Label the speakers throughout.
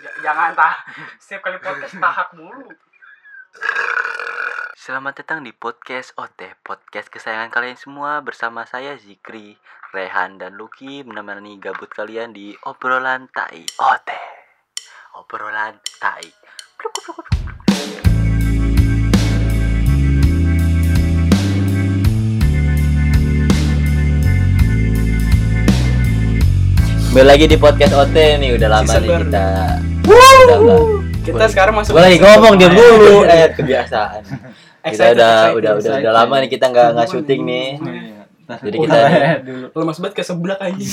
Speaker 1: J- jangan tah setiap kali podcast tahak mulu
Speaker 2: Selamat datang di podcast OT, podcast kesayangan kalian semua bersama saya Zikri, Rehan dan Lucky menemani gabut kalian di obrolan tai OT. Obrolan tai. Pluk, pluk, pluk, pluk. Kembali lagi di podcast OT nih udah lama
Speaker 1: Season
Speaker 2: nih
Speaker 1: baru.
Speaker 2: kita. Udah
Speaker 1: Wuh.
Speaker 2: lama.
Speaker 1: kita sekarang masuk
Speaker 2: Gue lagi
Speaker 1: season
Speaker 2: ngomong dia
Speaker 1: kemarin.
Speaker 2: dulu, eh kebiasaan. Kita
Speaker 1: Excited, excited,
Speaker 2: udah udah udah
Speaker 1: excited.
Speaker 2: udah lama nih kita nggak nggak syuting nih.
Speaker 3: Iya,
Speaker 2: Jadi kita
Speaker 1: Udah.
Speaker 2: nih-
Speaker 3: dulu.
Speaker 1: lemas banget ke sebelah aja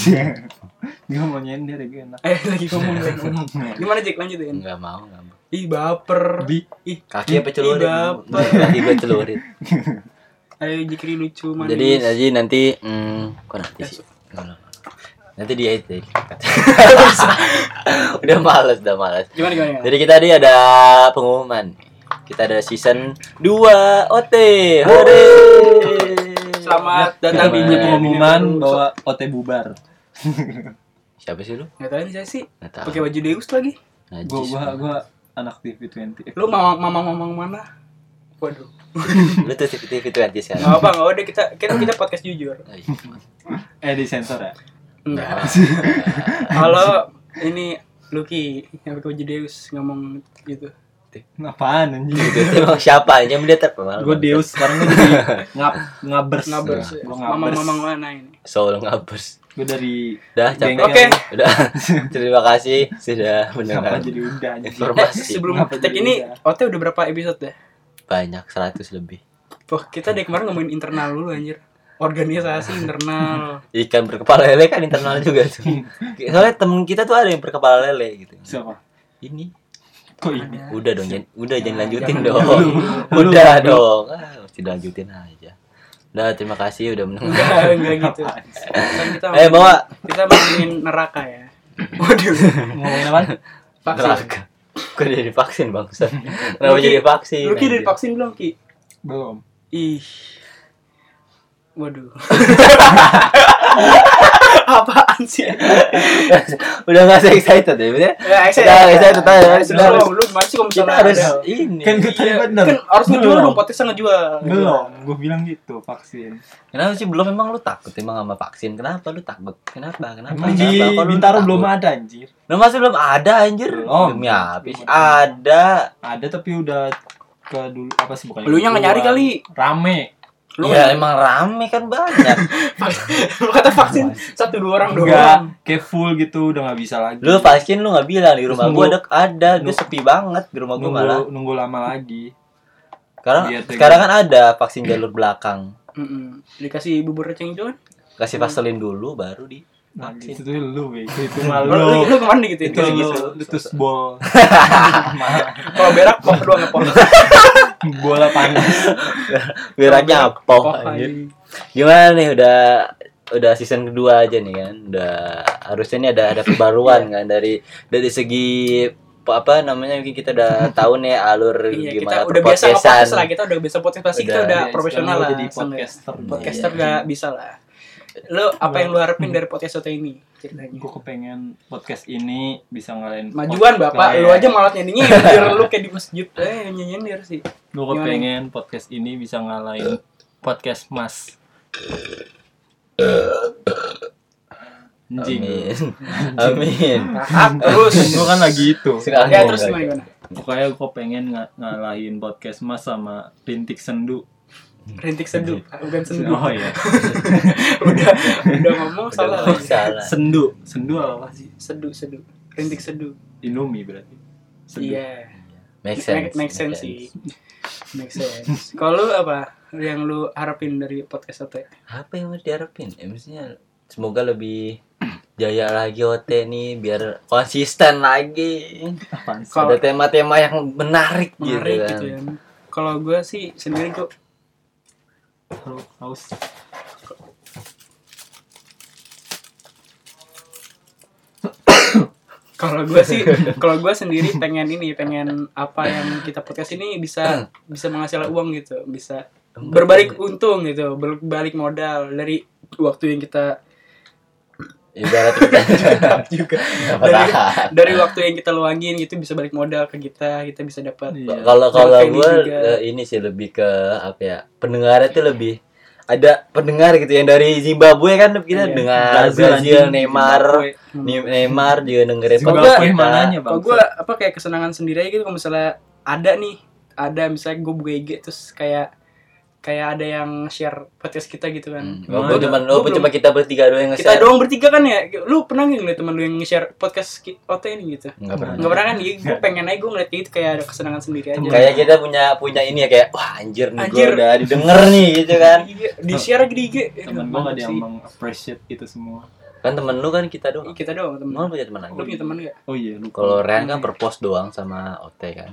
Speaker 3: Dia mau nyender gue enak.
Speaker 1: eh lagi ngomong lagi ngomong gimana Jack lanjutin
Speaker 2: nggak mau nggak mau.
Speaker 1: ih baper
Speaker 3: Bi.
Speaker 1: ih
Speaker 2: Kaki apa celurit?
Speaker 1: Tidak.
Speaker 2: Kaki gue celurit.
Speaker 1: ayo Jikri Eh, lucu manis
Speaker 2: Jadi nanti nanti hmm, kok nanti sih. Nggak, nggak, nggak. Nanti dia itu. udah malas, udah malas.
Speaker 1: gimana gimana, gimana?
Speaker 2: Jadi kita tadi ada pengumuman. Kita ada season 2 OT. Hore.
Speaker 1: selamat datang di
Speaker 2: Selamat.
Speaker 3: Kita punya
Speaker 1: Jikri
Speaker 3: pengumuman
Speaker 1: Dunia Baru.
Speaker 3: bahwa OT bubar.
Speaker 2: Siapa sih lu?
Speaker 1: nggak tahu nih saya sih
Speaker 2: Nggak tahu.
Speaker 1: pakai baju Deus lagi
Speaker 2: Najis.
Speaker 3: Gua gua gua anak TV20.
Speaker 1: lu mama mama mamang mana waduh
Speaker 2: Lu tuh TV itu anti
Speaker 1: nggak apa nggak udah kita kita kita podcast jujur
Speaker 3: eh di sensor ya?
Speaker 1: Enggak. Kalau ini Lucky yang pakai baju Deus ngomong gitu.
Speaker 3: Apaan anjir?
Speaker 2: itu emang siapa aja dia terkenal
Speaker 3: Gue Deus sekarang gue jadi ngap ngabers.
Speaker 1: Ngabers. iya.
Speaker 3: Gua
Speaker 1: Mama
Speaker 3: ngabers.
Speaker 1: mama mana ini?
Speaker 2: Soul ngabers
Speaker 3: Gue dari
Speaker 2: Dah, capek.
Speaker 3: bengkel.
Speaker 1: Oke.
Speaker 2: udah terima kasih sudah
Speaker 3: Kenapa
Speaker 2: mendengar
Speaker 3: jadi udah anjir?
Speaker 1: Eh,
Speaker 2: informasi
Speaker 1: sebelum
Speaker 3: Ngapa
Speaker 1: tag
Speaker 3: jadi
Speaker 1: ini
Speaker 3: udah?
Speaker 1: OT udah berapa episode deh?
Speaker 2: banyak 100 lebih
Speaker 1: Wah, kita dari kemarin ngomongin internal dulu anjir. Organisasi internal.
Speaker 2: ikan berkepala lele kan internal juga tuh soalnya temen kita tuh ada yang berkepala lele gitu
Speaker 3: Siapa?
Speaker 2: ini
Speaker 3: Kok ini?
Speaker 2: udah dong jangan udah jangan
Speaker 1: Ya,
Speaker 2: lanjutin
Speaker 1: jangan
Speaker 2: dong
Speaker 1: dulu.
Speaker 2: udah dong ah, mesti lanjutin aja Udah, terima kasih udah mendengar
Speaker 1: Enggak, enggak gitu. Kan kita
Speaker 2: Eh, bawa.
Speaker 1: kita ngomongin neraka ya. Waduh.
Speaker 3: Ngomongin apa?
Speaker 1: Vaksin.
Speaker 2: Neraka. Kok dia divaksin bang? Kenapa
Speaker 1: Lucky-
Speaker 2: jadi vaksin?
Speaker 1: Lucky dari
Speaker 2: anjir?
Speaker 1: vaksin belum, Ki?
Speaker 3: Belum.
Speaker 1: Ih. Waduh. Apaan sih?
Speaker 2: udah nggak se excited ya, bener?
Speaker 1: Ya,
Speaker 2: Udah, excited aja.
Speaker 1: Sudah,
Speaker 2: Udah,
Speaker 1: lu gimana sih kalau
Speaker 2: kita
Speaker 1: misalnya
Speaker 2: harus
Speaker 1: ada-
Speaker 2: ini.
Speaker 3: Kan gue tadi
Speaker 1: Iya,
Speaker 3: bener.
Speaker 1: Kan harus ngejual
Speaker 3: Belum.
Speaker 1: dong, potensi ngejual.
Speaker 3: Belum. Gue bilang gitu vaksin.
Speaker 2: Kenapa sih belum emang lu takut emang sama vaksin? Kenapa lu takut? Kenapa? Kenapa?
Speaker 3: Emang
Speaker 2: Kenapa?
Speaker 3: di
Speaker 2: Kok lu
Speaker 3: Bintaro
Speaker 2: takut?
Speaker 3: belum ada anjir.
Speaker 2: Lu masih belum ada anjir.
Speaker 3: Belum.
Speaker 2: Demi habis
Speaker 3: Belum ada.
Speaker 2: ada.
Speaker 3: ada tapi udah ke dulu apa sih bukan
Speaker 1: Lu yang
Speaker 3: keluar.
Speaker 1: nyari kali.
Speaker 3: rame
Speaker 1: Lu
Speaker 2: ya emang rame kan banyak.
Speaker 1: lu kata vaksin satu dua orang doang.
Speaker 3: enggak kayak full gitu udah nggak bisa lagi
Speaker 2: lu vaksin lu nggak bilang di rumah
Speaker 3: Terus
Speaker 2: gua ada
Speaker 3: nunggu-
Speaker 2: ada, gua
Speaker 3: nunggu-
Speaker 2: sepi banget di rumah gua malah.
Speaker 3: nunggu, nunggu lama lagi
Speaker 2: Sekarang
Speaker 3: Iya, tuh,
Speaker 2: sekarang kan ada vaksin jalur belakang.
Speaker 1: Mm-mm. Dikasih bubur receng itu kan.
Speaker 2: Kasih vaselin dulu baru di
Speaker 3: nah,
Speaker 2: Vaksin.
Speaker 3: itu tuh lu Bego. itu malu
Speaker 1: Lu lu kemana gitu
Speaker 3: itu
Speaker 1: itu?
Speaker 3: lu
Speaker 2: gitu.
Speaker 3: itu bol
Speaker 1: Kalau berak pop doang ngepop.
Speaker 3: bola
Speaker 1: Ya,
Speaker 3: panas
Speaker 2: Wiraknya apa?
Speaker 1: Pop anjing.
Speaker 2: anjir. Gimana nih udah udah season kedua aja nih kan udah harusnya ini ada ada
Speaker 1: Iya.
Speaker 2: kebaruan kan dari dari segi apa apa namanya mungkin kita udah tahu nih alur
Speaker 1: Iya, kita
Speaker 2: gimana
Speaker 1: udah biasa podcast
Speaker 2: perpodcastan.
Speaker 1: lah, kita udah biasa podcast pasti kita
Speaker 2: Udah,
Speaker 1: udah
Speaker 3: Ya,
Speaker 1: profesional
Speaker 3: sekarang
Speaker 1: lah.
Speaker 3: lu jadi
Speaker 1: seenggaknya.
Speaker 3: podcaster Iya.
Speaker 1: Podcaster udah bisa lah. Lu apa yang lu harapin dari podcast OT ini? Ceritanya.
Speaker 3: gue kepengen podcast ini bisa ngalahin
Speaker 1: Majuan bapak, lu aja malah nyanyinya nyindir lu kayak di masjid eh nyindir sih.
Speaker 3: gue
Speaker 1: Gimana?
Speaker 3: kepengen podcast ini bisa ngalahin podcast mas anjing
Speaker 2: Amin. Amin.
Speaker 1: Tahap terus.
Speaker 3: gue kan lagi itu
Speaker 2: Sekarang
Speaker 1: Nah, Ya
Speaker 2: gua
Speaker 1: terus
Speaker 2: nggak-
Speaker 1: gimana gimana?
Speaker 3: Pokoknya gue pengen nga- ngalahin podcast mas sama Rintik Sendu
Speaker 1: Rintik sendu, Ah, bukan sendu.
Speaker 3: Oh iya
Speaker 1: udah udah ngomong salah
Speaker 2: Udah,
Speaker 1: lagi.
Speaker 2: salah.
Speaker 3: Sendu Sendu apa sih?
Speaker 1: Sedu sedu. Rintik sedu.
Speaker 3: Indomie berarti Sendu
Speaker 1: Iya.
Speaker 2: Make sense.
Speaker 1: Make, make sense sih. Make sense. Kalau lu apa yang lu harapin dari podcast ya? OT?
Speaker 2: Apa yang harus diharapin? Ya, maksudnya semoga lebih jaya lagi OT nih biar konsisten lagi.
Speaker 3: Apaan sih?
Speaker 1: Kalau-
Speaker 2: Ada tema-tema yang menarik,
Speaker 1: Menarik
Speaker 2: gitu kan.
Speaker 1: gitu ya. Kalau gue sih sendiri gue
Speaker 3: Terus haus
Speaker 1: kalau gue sih kalau gue sendiri pengen ini pengen apa yang kita podcast ini bisa bisa menghasilkan uang gitu bisa berbalik untung gitu berbalik modal dari waktu yang kita
Speaker 2: Ibarat kita
Speaker 1: Tahap juga
Speaker 2: dapat
Speaker 1: Dari-
Speaker 2: tahap.
Speaker 1: dari waktu yang kita luangin gitu bisa balik modal ke kita kita bisa dapat
Speaker 3: Iya.
Speaker 2: Kalau kalau
Speaker 1: Dapat ini
Speaker 2: gue
Speaker 1: juga. Iya.
Speaker 2: eh, ini sih lebih ke apa ya? Pendengarnya tuh lebih ada pendengar gitu yang dari Zimbabwe kan kita
Speaker 1: Iya.
Speaker 2: dengar
Speaker 3: Brazil,
Speaker 2: Brazil,
Speaker 3: anjing.
Speaker 2: Neymar,
Speaker 1: Gue- hmm.
Speaker 2: Ne- Neymar juga dengerin
Speaker 1: Zimbabwe kan?
Speaker 2: podcast kita.
Speaker 3: mananya bang?
Speaker 1: kalau gue apa kayak kesenangan sendiri aja gitu kalau misalnya ada nih ada misalnya gue buka IG terus kayak kayak ada yang share podcast kita gitu kan
Speaker 2: Hmm. Gue
Speaker 3: Mana?
Speaker 2: cuma
Speaker 1: Gua
Speaker 2: gue
Speaker 1: belum-
Speaker 2: cuma kita bertiga doang yang
Speaker 1: kita
Speaker 2: nge-share.
Speaker 1: doang bertiga kan ya lu pernah nggak ngeliat temen lu yang share podcast ki- OT ini gitu
Speaker 2: Nggak pernah.
Speaker 1: nggak pernah kan gue pengen aja gue ngeliat kayak gitu kayak ada kesenangan sendiri aja
Speaker 2: Kayak kita punya punya ini ya kayak wah anjir nih gue
Speaker 1: Anjir.
Speaker 2: udah didengar nih gitu kan.
Speaker 1: Iya, di share lagi di IG
Speaker 3: temen gue gak ada yang meng-appreciate itu semua
Speaker 2: Kan temen lu kan kita doang.
Speaker 1: kita doang temen
Speaker 2: Mau punya temen lagi.
Speaker 1: lu punya temen gak
Speaker 3: oh iya lu
Speaker 2: Kalau Ren kan per post doang sama OT kan.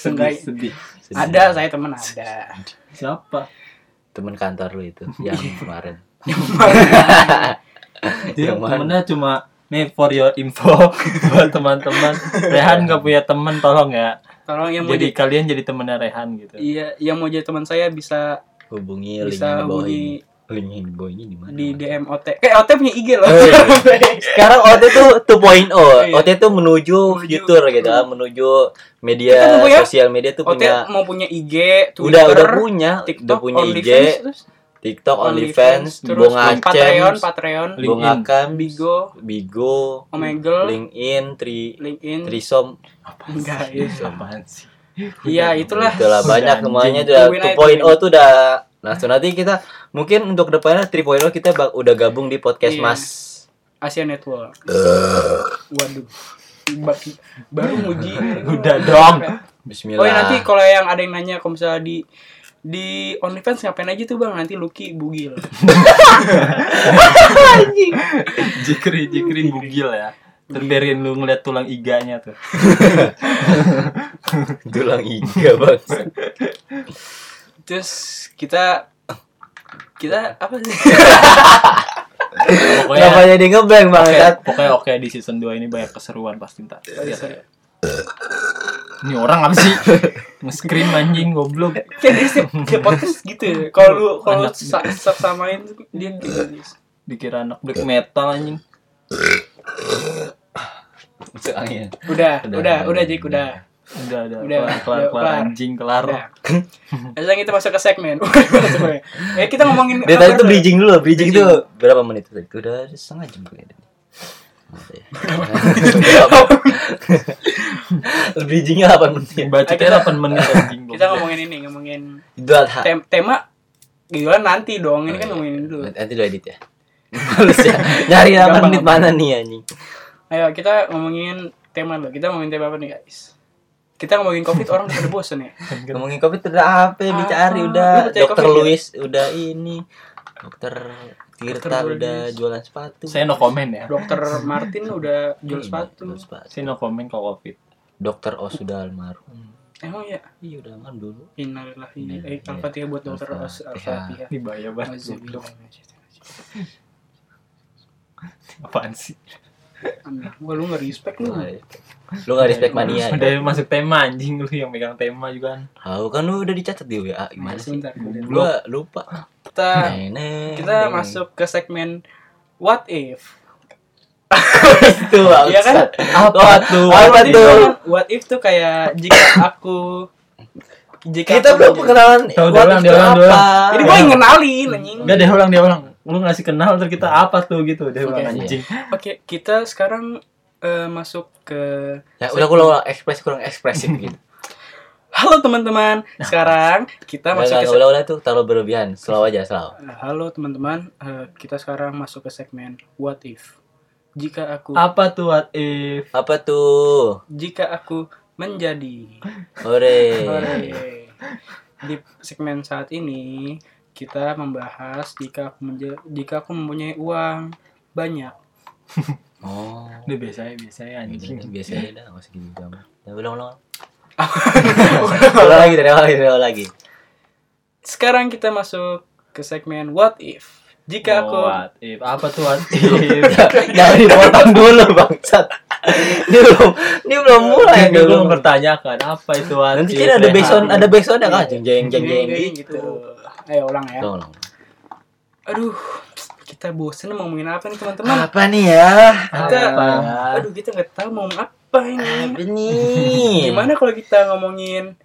Speaker 3: sedih,
Speaker 1: Seenggaknya-
Speaker 3: sedih
Speaker 2: Sedih.
Speaker 1: ada saya temen ada
Speaker 3: siapa
Speaker 2: temen kantor lu itu yang
Speaker 1: Iya.
Speaker 2: kemarin.
Speaker 3: dia
Speaker 2: Yang mana?
Speaker 3: temennya cuma nih for your info buat teman-teman Rehan gak punya temen tolong ya
Speaker 1: tolong yang Iya. mau
Speaker 3: jadi
Speaker 1: jadi
Speaker 3: kalian jadi temennya Rehan gitu
Speaker 1: iya yang mau jadi teman saya bisa
Speaker 2: Hubungi
Speaker 1: bisa
Speaker 2: linknya boy.
Speaker 1: hubungi
Speaker 2: Linknya boy ini di mana?
Speaker 1: di DM OT kayak OT punya IG loh
Speaker 2: Oh, iya. Sekarang OT tuh 2.0.
Speaker 1: Iya.
Speaker 2: OT tuh
Speaker 1: Menuju-
Speaker 2: menuju future gitu, ah, menuju
Speaker 1: Kita
Speaker 2: media
Speaker 1: tunggu ya.
Speaker 2: sosial media tuh
Speaker 1: OT
Speaker 2: punya
Speaker 1: mau punya IG
Speaker 2: udah
Speaker 1: Twitter
Speaker 2: udah punya, udah
Speaker 1: TikTok
Speaker 2: punya IG,
Speaker 1: OnlyFans terus
Speaker 2: TikTok,
Speaker 1: OnlyFans,
Speaker 2: OnlyFans,
Speaker 1: terus
Speaker 2: Bung Acem,
Speaker 1: Patreon Patreon
Speaker 3: Link-
Speaker 2: Bung
Speaker 3: LinkedIn.
Speaker 2: Akam,
Speaker 1: Bigo
Speaker 2: Bigo,
Speaker 1: Omegle
Speaker 2: LinkedIn, Tri,
Speaker 1: LinkedIn
Speaker 2: Trisom,
Speaker 1: enggak ya
Speaker 3: apaan sih
Speaker 1: Iya, itulah
Speaker 2: itulah
Speaker 3: Udah,
Speaker 2: banyak
Speaker 3: anjing.
Speaker 2: semuanya ya. udah
Speaker 1: Tungguin aja,
Speaker 2: 2.0 tuh udah langsung nanti kita mungkin untuk depannya 3.0 kita bak- udah gabung di podcast
Speaker 1: Iya.
Speaker 2: Mas.
Speaker 1: Asia Network
Speaker 2: Eh.
Speaker 1: waduh Bak- baru muji
Speaker 3: Udah dong.
Speaker 2: Bismillah.
Speaker 1: Oh ya nanti kalau yang ada yang nanya kalau misalnya di di OnlyFans ngapain aja tuh bang nanti Lucky bugil
Speaker 3: jikri jikri bugil ya terbiarin lu ngeliat tulang iganya tuh
Speaker 2: tulang iga bang.
Speaker 1: terus kita kita apa sih Oh, iya.
Speaker 3: pokoknya
Speaker 2: Kenapa jadi ngeblank bang? kan?
Speaker 3: Oke,
Speaker 2: Sat?
Speaker 3: pokoknya oke di season 2 ini banyak keseruan pasti ntar.
Speaker 1: Sorry, sorry.
Speaker 3: Ini orang apa sih? Nge-scream anjing goblok.
Speaker 1: kayak dia setiap, setiap podcast gitu ya kalau lu kalau lu
Speaker 3: Anak.
Speaker 1: sa- sa- samain tuh dia gitu. kayak gini.
Speaker 3: Dikira anak black metal anjing.
Speaker 2: Masuk angin.
Speaker 1: udah
Speaker 2: Udah,
Speaker 1: udah
Speaker 2: udah.
Speaker 1: udah Jik udah
Speaker 3: Udah udah
Speaker 1: Udah,
Speaker 3: kelar
Speaker 1: udah, kelar. Iya.
Speaker 3: kelar, kelar, anjing kelar.
Speaker 1: udah sekarang kita masuk ke segmen eh kita ngomongin
Speaker 2: Dia tadi
Speaker 1: kabar
Speaker 2: tuh
Speaker 1: dulu.
Speaker 2: bridging dulu, bridging
Speaker 1: Bridging.
Speaker 2: tuh berapa menit tadi? Udah setengah jam ya, kayaknya. Bridgingnya 8
Speaker 1: Iya.
Speaker 2: menit.
Speaker 3: Bacotnya 8 menit anjing.
Speaker 1: kita
Speaker 3: goblok.
Speaker 1: ngomongin ini ngomongin
Speaker 2: Dua hal.
Speaker 1: tem- tema gila nanti dong ini kan ngomongin dulu
Speaker 2: Nanti lu edit ya. Males ya. Nyari 8
Speaker 1: Gampang.
Speaker 2: menit mana nih anjing.
Speaker 1: ayo kita ngomongin tema lo kita ngomongin tema apa nih guys kita ngomongin covid orang udah pada bosen ya
Speaker 2: Ngomongin covid udah apa ya
Speaker 1: Apa?
Speaker 2: dicari
Speaker 1: Lu
Speaker 2: udah
Speaker 1: percaya
Speaker 2: dokter
Speaker 1: COVID ya?
Speaker 2: Luis udah ini dokter Tirta
Speaker 1: Luis.
Speaker 2: udah jualan sepatu.
Speaker 3: Saya no comment ya.
Speaker 1: dokter Martin udah
Speaker 2: Iya,
Speaker 1: jual sepatu
Speaker 2: jual sepatu.
Speaker 3: Saya no comment kalau Covid.
Speaker 2: Dokter Os udah almarhum.
Speaker 1: emang ya
Speaker 2: Iya udah almarhum dulu.
Speaker 1: innalillahi eh
Speaker 2: Iya.
Speaker 1: al-fatihah buat dokter Os
Speaker 2: Al-Fatihah.
Speaker 1: al-fatihah
Speaker 3: Ini bahaya
Speaker 1: Oh,
Speaker 3: banget. goblok.
Speaker 1: Wah
Speaker 3: Apaan sih?
Speaker 1: Kan, lu gak respect
Speaker 2: Lu
Speaker 1: lu
Speaker 2: nggak respect. Lu gak respect
Speaker 1: Iya,
Speaker 2: mania.
Speaker 3: Udah
Speaker 2: ya?
Speaker 3: masuk tema anjing lu yang megang tema juga kan.
Speaker 2: Tahu kan lu udah dicatat di WA gimana sih?
Speaker 1: Iya, Sebentar
Speaker 3: Goblok.
Speaker 2: Gua lupa.
Speaker 1: Kita
Speaker 2: Nenek,
Speaker 1: kita
Speaker 2: nenek.
Speaker 1: masuk ke segmen What if
Speaker 2: itu Bang.
Speaker 1: Iya kan?
Speaker 2: Apa tuh? Apa
Speaker 1: What if
Speaker 2: tuh?
Speaker 1: kan- What if tuh kayak Jika aku Jika
Speaker 2: Kita
Speaker 1: aku
Speaker 2: belum
Speaker 1: jadi-
Speaker 2: perkenalan.
Speaker 3: Tahu,
Speaker 2: what
Speaker 3: diulang,
Speaker 2: if
Speaker 3: diulang,
Speaker 2: itu
Speaker 3: diulang.
Speaker 2: apa?
Speaker 1: Jadi gue ngenalin anjing
Speaker 3: Enggak deh ulang dia ulang. Lu ngasih kenal ntar kita
Speaker 2: Hmm.
Speaker 3: apa tuh gitu. Dia ulang
Speaker 1: Oke.
Speaker 3: anjing.
Speaker 1: Oke kita sekarang eh, masuk ke
Speaker 2: Ya udah kurang ulang ekspres kurang ekspresif gitu.
Speaker 1: Halo teman-teman Sekarang kita masuk
Speaker 2: Enggak
Speaker 1: ke
Speaker 2: enggak ulah ulah tuh terlalu berlebihan. Slow aja, slow.
Speaker 1: Halo teman-teman, Eh, kita sekarang masuk ke segmen What If. Jika aku
Speaker 3: Apa tuh what if?
Speaker 2: Apa tuh?
Speaker 1: jika aku menjadi
Speaker 2: Ore.
Speaker 1: Hore. di segmen saat ini kita membahas jika aku menja- jika aku mempunyai uang banyak.
Speaker 2: Oh.
Speaker 3: Udah biasanya biasanya anjing.
Speaker 2: Biasanya dah enggak usah gini gampang. Ya ulang ulang. Ulang lagi dari awal dari awal lagi.
Speaker 1: Sekarang kita masuk ke segmen What If. Jika aku
Speaker 3: Oh, what if. apa tuh what if?
Speaker 2: Jangan dipotong dulu bangsat. Ini belum ini belum mulai
Speaker 3: Mulai
Speaker 2: nih,
Speaker 3: dulu
Speaker 2: belum.
Speaker 3: mempertanyakan apa itu what
Speaker 2: Nanti
Speaker 3: if,
Speaker 2: kan ada
Speaker 3: Rehan?
Speaker 2: backsound ada backsound ya kan jeng jeng jeng
Speaker 3: gitu.
Speaker 1: Gini,
Speaker 2: jeng
Speaker 1: gini,
Speaker 2: gitu.
Speaker 1: Ayo ulang ya.
Speaker 2: Tolong.
Speaker 1: Aduh, kita bosen mau ngomongin apa nih teman-teman
Speaker 2: Apa nih ya?
Speaker 1: kita
Speaker 3: Apa?
Speaker 1: aduh kita nggak tahu mau ngomong apa ini
Speaker 2: Apa nih?
Speaker 1: gimana kalau kita ngomongin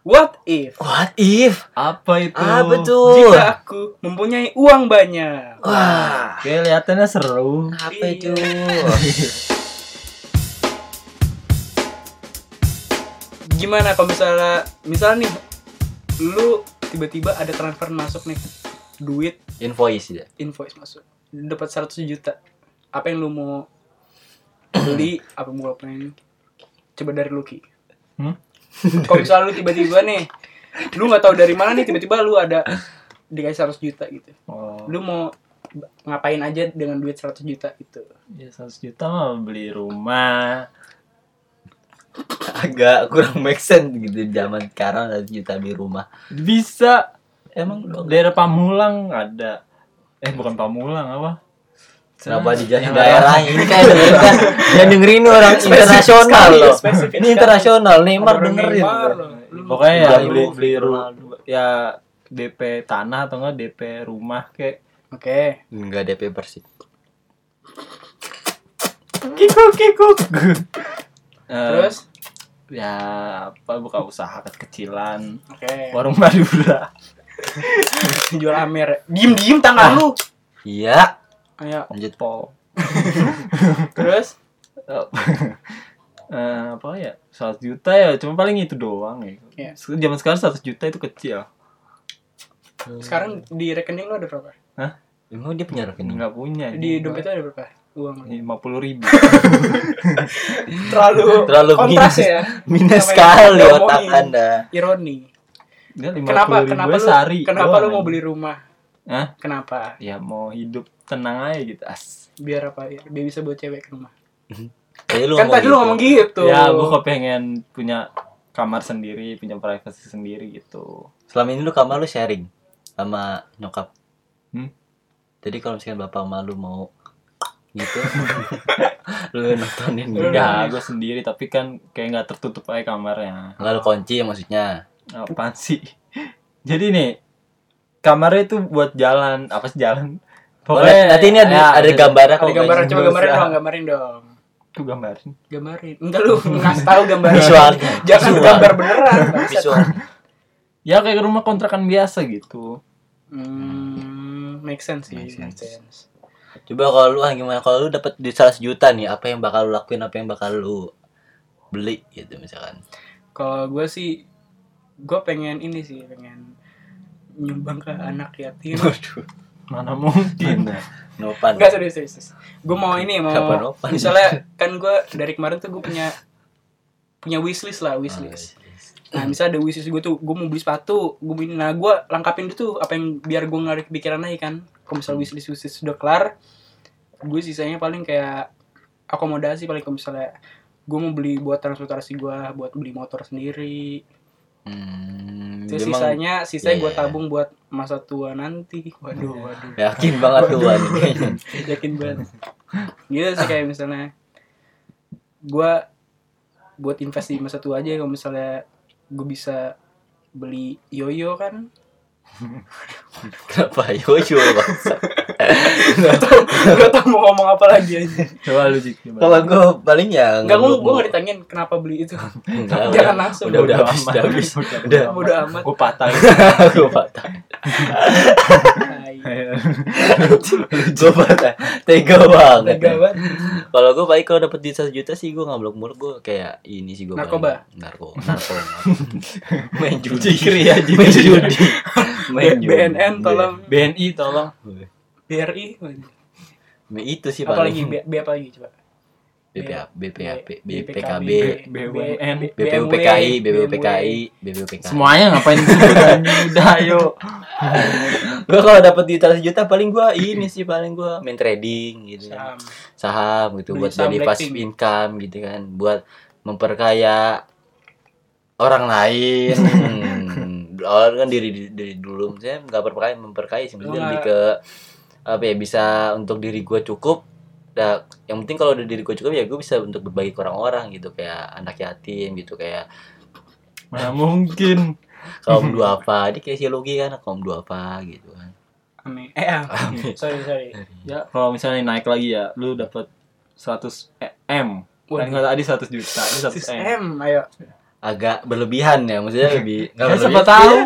Speaker 1: what if
Speaker 2: What if?
Speaker 3: Apa itu?
Speaker 2: Apa
Speaker 3: Oh.
Speaker 2: tuh?
Speaker 1: jika aku mempunyai uang banyak
Speaker 2: Wah,
Speaker 3: Oke, kelihatannya seru.
Speaker 2: apa
Speaker 1: Iya.
Speaker 2: itu?
Speaker 1: gimana kalau misalnya misalnya nih lu tiba-tiba ada transfer masuk nih duit
Speaker 2: Invoice ya.
Speaker 1: invoice masuk dapat 100 juta apa yang lu mau beli apa yang mau ngapain coba dari Lucky
Speaker 3: Hmm?
Speaker 1: kalau misalnya lu tiba-tiba nih lu nggak tahu dari mana nih tiba-tiba lu ada dikasih 100 juta gitu
Speaker 3: Oh,
Speaker 1: lu mau ngapain aja dengan duit 100 juta gitu? itu
Speaker 3: ya 100 juta mah beli rumah.
Speaker 2: Agak kurang make sense gitu zaman sekarang ada juta di rumah.
Speaker 3: Bisa.
Speaker 2: Emang dong.
Speaker 3: Daerah Pamulang ada. Eh, bukan Pamulang apa?
Speaker 1: Nah, Hmm.
Speaker 2: Kenapa di
Speaker 3: Yang
Speaker 2: daerah lain? Ini kayak dengerin kan? Yang dengerin ini orang internasional
Speaker 1: sekali,
Speaker 2: loh.
Speaker 1: spesifik
Speaker 2: Ini
Speaker 1: sekali.
Speaker 2: internasional, Neymar
Speaker 1: Orang
Speaker 2: dengerin.
Speaker 1: Neymar loh. Lu
Speaker 3: Pokoknya ya
Speaker 2: Udah
Speaker 3: beli
Speaker 2: beli-
Speaker 3: beli rumah ya DP tanah atau enggak DP rumah kayak
Speaker 1: oke
Speaker 2: Enggak DP Persib.
Speaker 3: kikuk kikuk.
Speaker 1: terus
Speaker 3: Terus ya apa buka usaha kecilan
Speaker 1: oke
Speaker 3: warung Madura.
Speaker 1: jual amer diem diem tangan lu
Speaker 2: Iya,
Speaker 1: ayo
Speaker 2: lanjut.
Speaker 3: Po.
Speaker 1: terus
Speaker 3: Eh, eh, apa ya 100 juta ya cuma paling itu doang ya.
Speaker 1: Iya.
Speaker 3: Se- Zaman sekarang 100 juta itu kecil.
Speaker 1: sekarang di rekening lu ada berapa
Speaker 2: Emang dia punya rekening?
Speaker 3: Enggak punya.
Speaker 1: di dompet lu ada berapa uang lu?
Speaker 3: lima puluh ribu.
Speaker 1: terlalu
Speaker 2: Terlalu
Speaker 1: kontras
Speaker 2: minus.
Speaker 1: ya
Speaker 2: Minus
Speaker 1: Apa yang
Speaker 2: sekali
Speaker 1: kita
Speaker 2: otak
Speaker 1: omongin?
Speaker 2: Anda.
Speaker 1: ironi
Speaker 3: lima
Speaker 1: kenapa
Speaker 3: puluh ribu ya
Speaker 1: kenapa lu
Speaker 3: sehari.
Speaker 1: kenapa lu
Speaker 3: doang.
Speaker 1: mau beli rumah
Speaker 3: Hah?
Speaker 1: kenapa
Speaker 3: Ya mau hidup tenang aja gitu as.
Speaker 1: biar apa biar, biar bisa bawa cewek ke rumah
Speaker 2: Tadi lu
Speaker 1: kan tadi lu
Speaker 2: gitu.
Speaker 1: ngomong gitu
Speaker 3: Ya gue kepengen punya kamar sendiri, punya privasi sendiri gitu.
Speaker 2: Selama ini lu kamar lu sharing sama nyokap.
Speaker 3: Hmm?
Speaker 2: Jadi kalau misalkan bapak malu mau gitu, lu nontonin
Speaker 1: Lu
Speaker 2: gitu.
Speaker 3: Enggak, gue sendiri tapi kan kayak nggak tertutup aja kamarnya.
Speaker 2: Enggak lu kunci maksudnya.
Speaker 3: Apaan sih? Jadi nih kamarnya itu buat jalan apa sih jalan?
Speaker 2: Boleh, nanti ini ada,
Speaker 3: ya,
Speaker 2: ada gambarnya
Speaker 1: ada
Speaker 2: kok.
Speaker 1: gambaran coba
Speaker 3: Dosa.
Speaker 1: gambarin dong gambarin dong
Speaker 3: Tuh gambarin.
Speaker 1: gambarin enggak lu ngasih tahu gambaran
Speaker 2: Visualnya.
Speaker 1: jangan
Speaker 2: Visual.
Speaker 1: gambar beneran bangsat.
Speaker 2: Visual.
Speaker 3: Ya kayak rumah kontrakan biasa gitu.
Speaker 1: hmm make sense sih
Speaker 2: Make
Speaker 1: make
Speaker 2: sense.
Speaker 1: sense
Speaker 2: Coba kalau lu ah, gimana? Kalau lu dapat di 100 juta nih, apa yang bakal lu lakuin? Apa yang bakal lu beli gitu misalkan?
Speaker 1: kalau gue sih gue pengen ini sih pengen nyumbang ke anak yatim
Speaker 2: Waduh.
Speaker 3: Mana mungkin.
Speaker 2: Nopan.
Speaker 1: Enggak serius serius. Gue mau ini mau
Speaker 2: Kapan open?
Speaker 1: misalnya kan gue dari kemarin tuh gue punya punya wishlist lah
Speaker 2: Oh,
Speaker 1: wishlist. Nah misalnya ada wishlist gue tuh gue mau beli sepatu, gue beli nah gue lengkapin dulu tuh apa yang biar gue nggak ada kepikiran lagi kan. Kalau misalnya wishlist wishlist sudah kelar, gue sisanya paling kayak akomodasi paling kalau misalnya gue mau beli buat transportasi gue, buat beli motor sendiri.
Speaker 2: Hmm,
Speaker 1: Terus
Speaker 2: emang
Speaker 1: sisanya sisanya gue
Speaker 2: iya.
Speaker 1: tabung buat masa tua nanti. Waduh waduh.
Speaker 2: yakin banget tuh Wan.
Speaker 1: yakin banget gitu sih kayak misalnya gua buat invest di masa tua aja kalau misalnya gue bisa beli yoyo kan
Speaker 2: Kenapa yoyo bangsa?
Speaker 1: gak tau gak tau mau ngomong apa lagi aja
Speaker 3: Coba lu Jik, gimana?
Speaker 2: Kalau gue paling ya
Speaker 1: nggak gue gue
Speaker 2: nggak-
Speaker 1: nggak ditanyain kenapa beli itu
Speaker 2: Enggak,
Speaker 1: jangan
Speaker 2: udah.
Speaker 1: langsung
Speaker 2: udah, udah habis,
Speaker 3: amat.
Speaker 2: udah habis.
Speaker 3: Udah,
Speaker 2: Udah.
Speaker 1: Udah amat.
Speaker 3: Gue patah.
Speaker 2: Gua patah.
Speaker 1: Tai.
Speaker 2: Gua patah. Tega banget.
Speaker 1: Tega banget.
Speaker 2: Kalau gue baik kalau dapet duit 1 juta sih gue nggak blok muluk gue kayak ini sih gue
Speaker 1: Narkoba?
Speaker 2: Narko, narko. Main judi.
Speaker 3: Jikri
Speaker 1: Iya,
Speaker 3: ya, jikri.
Speaker 2: Main judi. Main judi. Iya.
Speaker 1: BNN tolong
Speaker 3: BNI tolong.
Speaker 1: BRI
Speaker 2: Nah, Itu sih
Speaker 1: apalagi
Speaker 2: paling.
Speaker 1: B, B apa lagi coba
Speaker 2: BPA, BPAP, BPKB,
Speaker 1: BPKB,
Speaker 3: BUMN,
Speaker 2: BPUPKI, BPUPKI, BPUPKI.
Speaker 3: Semuanya ngapain sebutan udah ayo.
Speaker 2: Gue kalau dapet duit 1 juta paling gue ini sih paling gue main trading gitu.
Speaker 1: saham
Speaker 2: saham gitu
Speaker 1: Beli
Speaker 2: buat
Speaker 1: saham
Speaker 2: jadi
Speaker 1: Blackpink.
Speaker 2: passive income gitu kan buat memperkaya orang lain Hmm, orang kan diri diri- diri dulu saya nggak perkaya memperkaya sih
Speaker 1: Lu
Speaker 2: maksudnya lebih
Speaker 1: nggak-
Speaker 2: ke apa ya bisa untuk diri gue cukup Nah, yang penting kalau udah diri gue cukup ya gue bisa untuk berbagi ke orang-orang gitu kayak anak yatim gitu kayak
Speaker 3: Mana mungkin.
Speaker 2: kaum duafa ini kayak si Lugi kan kaum duafa gitu kan
Speaker 1: Amin. Eh, ah. sorry sorry.
Speaker 3: ya kalau misalnya naik lagi ya lu dapat 100 e- m kan
Speaker 1: Waduh.
Speaker 3: kalau tadi 100 juta ini 100 m
Speaker 1: M, ayo.
Speaker 2: Agak berlebihan ya, maksudnya lebih nggak Iya.
Speaker 3: ya,
Speaker 2: berlebihan.
Speaker 3: siapa tahu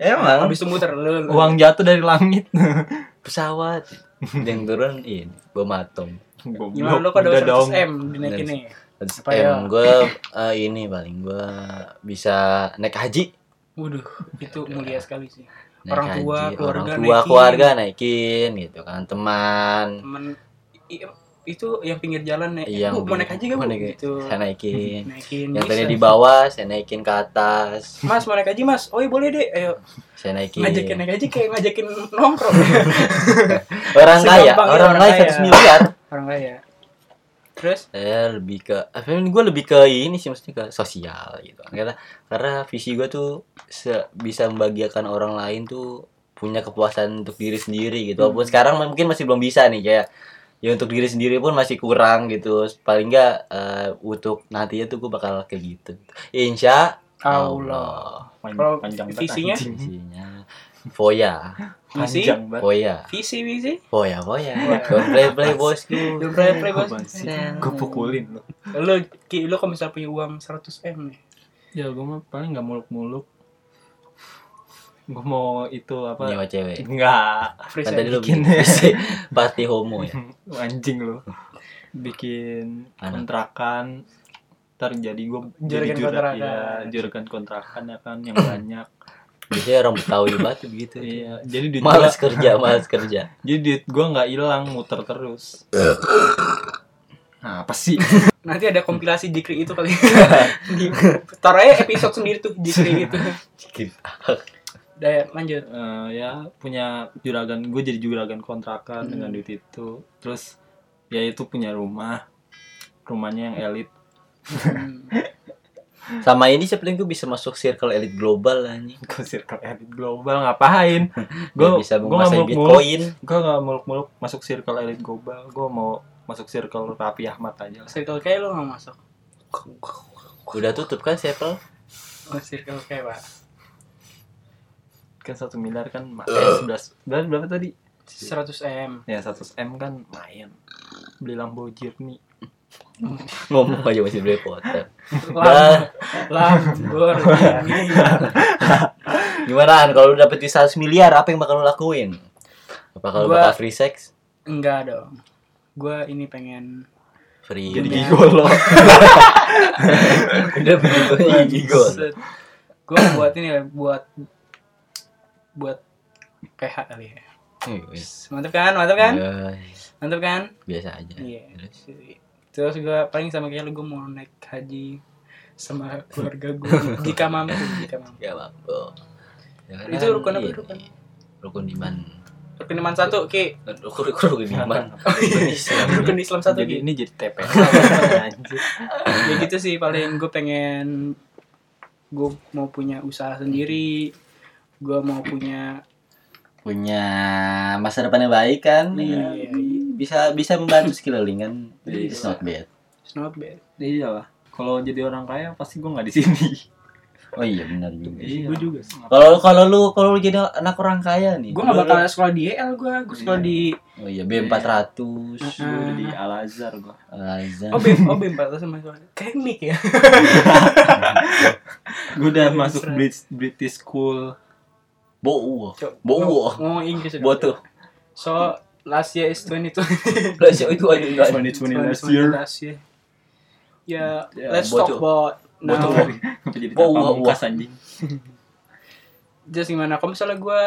Speaker 3: emang
Speaker 1: Habis itu muter lu. lu.
Speaker 3: uang jatuh dari langit
Speaker 2: pesawat yang turun ini bom atom.
Speaker 1: Gimana lu kok
Speaker 3: Udah
Speaker 1: ada 100 M
Speaker 2: Udah.
Speaker 1: dinaikin nih?
Speaker 2: Terus
Speaker 1: Apa ya?
Speaker 2: em gue ini paling gue bisa naik haji.
Speaker 1: Waduh, itu
Speaker 2: Iya.
Speaker 1: mulia sekali sih.
Speaker 2: Naik
Speaker 1: Orang tua,
Speaker 2: orang
Speaker 1: keluarga
Speaker 2: tua,
Speaker 1: naikin.
Speaker 2: keluarga naikin gitu kan, teman.
Speaker 1: Temen i- itu yang pinggir jalan ya.
Speaker 2: Iya,
Speaker 1: Bu, mau naik haji gak, Bu?
Speaker 2: mau naik-
Speaker 1: Gitu.
Speaker 2: Saya naikin.
Speaker 1: Naikin.
Speaker 2: Yang tadi
Speaker 1: bisa.
Speaker 2: di bawah saya naikin ke atas.
Speaker 1: Mas mau naik haji, Mas. Oh, iya boleh deh. Ayo
Speaker 2: Saya naikin.
Speaker 1: ngajakin naik haji kayak ngajakin nongkrong.
Speaker 2: Orang kaya,
Speaker 1: Segampang itu
Speaker 2: orang
Speaker 1: orang
Speaker 2: kaya
Speaker 1: kaya.
Speaker 2: 100 miliar.
Speaker 1: Orang kaya. Terus
Speaker 2: saya lebih ke apa gue lebih ke ini sih maksudnya ke sosial gitu kan. karena karena visi gue tuh se- bisa membahagiakan orang lain tuh punya kepuasan untuk diri sendiri gitu walaupun sekarang mungkin masih belum bisa nih kayak ya untuk diri sendiri pun masih kurang gitu paling nggak eh, untuk nantinya tuh gue bakal kayak gitu insya
Speaker 1: Allah. Kalau visinya?
Speaker 2: visinya foya
Speaker 1: Visi?
Speaker 3: panjang banget
Speaker 2: foya
Speaker 1: Visi visi.
Speaker 2: foya foya
Speaker 1: Foya.
Speaker 2: don't play play bosku
Speaker 1: Lu play play bos.
Speaker 3: Apaan sih? gue pukulin lo
Speaker 1: Lu Ki, lu kalau misalnya punya uang 100 M nih.
Speaker 3: ya gue mah paling nggak muluk-muluk gue mau itu apa
Speaker 2: nyawa cewek
Speaker 3: enggak
Speaker 1: Free
Speaker 2: kan
Speaker 1: sex.
Speaker 2: tadi lu
Speaker 3: bikin.
Speaker 2: bikin pasti homo ya
Speaker 3: anjing lo bikin
Speaker 2: Anak.
Speaker 3: kontrakan ntar jadi gue
Speaker 1: Juragan kontrakan.
Speaker 3: juragan kontrakan ya kan yang banyak
Speaker 2: biasanya orang Betawi banget tuh begitu
Speaker 3: iya jadi duit
Speaker 2: malas
Speaker 3: gua-
Speaker 2: kerja malas kerja
Speaker 3: jadi duit gue nggak hilang muter terus nah, apa sih
Speaker 1: Nanti ada kompilasi Jikri itu kali. Di- Taruh aja episode sendiri tuh Jikri itu. Udah lanjut.
Speaker 3: Eh, ya punya juragan gue jadi juragan kontrakan dengan duit itu terus ya itu punya rumah rumahnya yang elit
Speaker 1: Hmm.
Speaker 2: sama ini sebelum gue bisa masuk circle elit global lah nih
Speaker 3: ke circle elit global ngapain gue
Speaker 2: bisa
Speaker 3: gue nggak
Speaker 2: menguasai
Speaker 3: muluk muluk
Speaker 2: bitcoin
Speaker 3: gue nggak muluk muluk masuk circle elit global gue mau masuk circle Raffi Ahmad aja lah.
Speaker 1: Circle K lu gak masuk.
Speaker 2: udah tutup kan circle
Speaker 1: Oh, circle K, Pak.
Speaker 3: kan satu miliar kan ma- eh, sebelas sebelas berapa tadi
Speaker 1: 100 M.
Speaker 3: ya 100 m kan main beli Lambo Journey
Speaker 2: ngomong aja masih belepotan
Speaker 1: Lam, lam, gor.
Speaker 2: Iya. gimana Han? kalau lu dapet duit 100 miliar apa yang bakal lu lakuin apakah lu
Speaker 1: Gua-
Speaker 2: bakal free sex
Speaker 1: Enggak dong. Gua ini pengen
Speaker 2: free
Speaker 3: jadi
Speaker 1: Iya.
Speaker 3: gigolo
Speaker 2: udah begitu gigol
Speaker 1: Set. Gua mau buat ini ya, buat buat PH kali ya.
Speaker 2: Iya.
Speaker 1: Mantap kan? Mantap kan?
Speaker 2: Ya,
Speaker 1: Mantap kan?
Speaker 2: biasa aja
Speaker 1: Iya.
Speaker 2: Terus?
Speaker 1: Terus gua paling sama kayak lu gua mau naik haji sama keluarga gua jika mampu, jika mampu.
Speaker 2: gak apa-apa Ya
Speaker 1: Itu
Speaker 2: kan,
Speaker 1: rukun apa
Speaker 2: iya.
Speaker 1: rukun?
Speaker 2: rukun iman
Speaker 1: Rukun iman satu, Ki.
Speaker 2: rukun rukun rukun iman Rukun Islam.
Speaker 1: Rukun Islam satu, Ki.
Speaker 3: jadi ini jadi TPS anjir
Speaker 1: ya gitu sih paling gue pengen gue mau punya usaha sendiri gue mau punya
Speaker 2: punya masa depan yang baik kan
Speaker 1: Iya.
Speaker 2: Ya, bisa bisa membantu sekelilingan
Speaker 1: Iya.
Speaker 2: it's not bad
Speaker 1: it's not bad
Speaker 3: iya lah kalau jadi orang kaya pasti gue nggak di sini
Speaker 2: oh iya benar juga
Speaker 1: gue juga sih
Speaker 2: kalau kalau lu kalau lu jadi anak orang kaya nih
Speaker 1: gue gak
Speaker 2: lu-
Speaker 1: bakal sekolah di E EL gue gue sekolah
Speaker 3: Iya.
Speaker 1: di
Speaker 2: oh iya B 400
Speaker 3: Gue udah di
Speaker 2: Ah.
Speaker 3: Al Azhar gue
Speaker 1: Iya.
Speaker 2: Azan
Speaker 1: oh BEM oh BEM batas sama sekolah kayak Nick ya
Speaker 3: Gue udah masuk British, British School
Speaker 2: bo
Speaker 1: Cok,
Speaker 2: bo
Speaker 1: ngomong- ngomong Inggris udah.
Speaker 2: Botuh.
Speaker 1: so last year is 22
Speaker 2: lah sih itu aja enggak
Speaker 3: 2020 last
Speaker 1: 2020
Speaker 3: year
Speaker 1: last year ya
Speaker 2: Ya,
Speaker 1: let's
Speaker 2: botuh.
Speaker 1: talk about nah,
Speaker 2: Botuh.
Speaker 1: now
Speaker 3: Kenapa jadi
Speaker 2: Nah. Wow, wow,
Speaker 3: pamungkas anjing
Speaker 1: just gimana kalau misalnya gue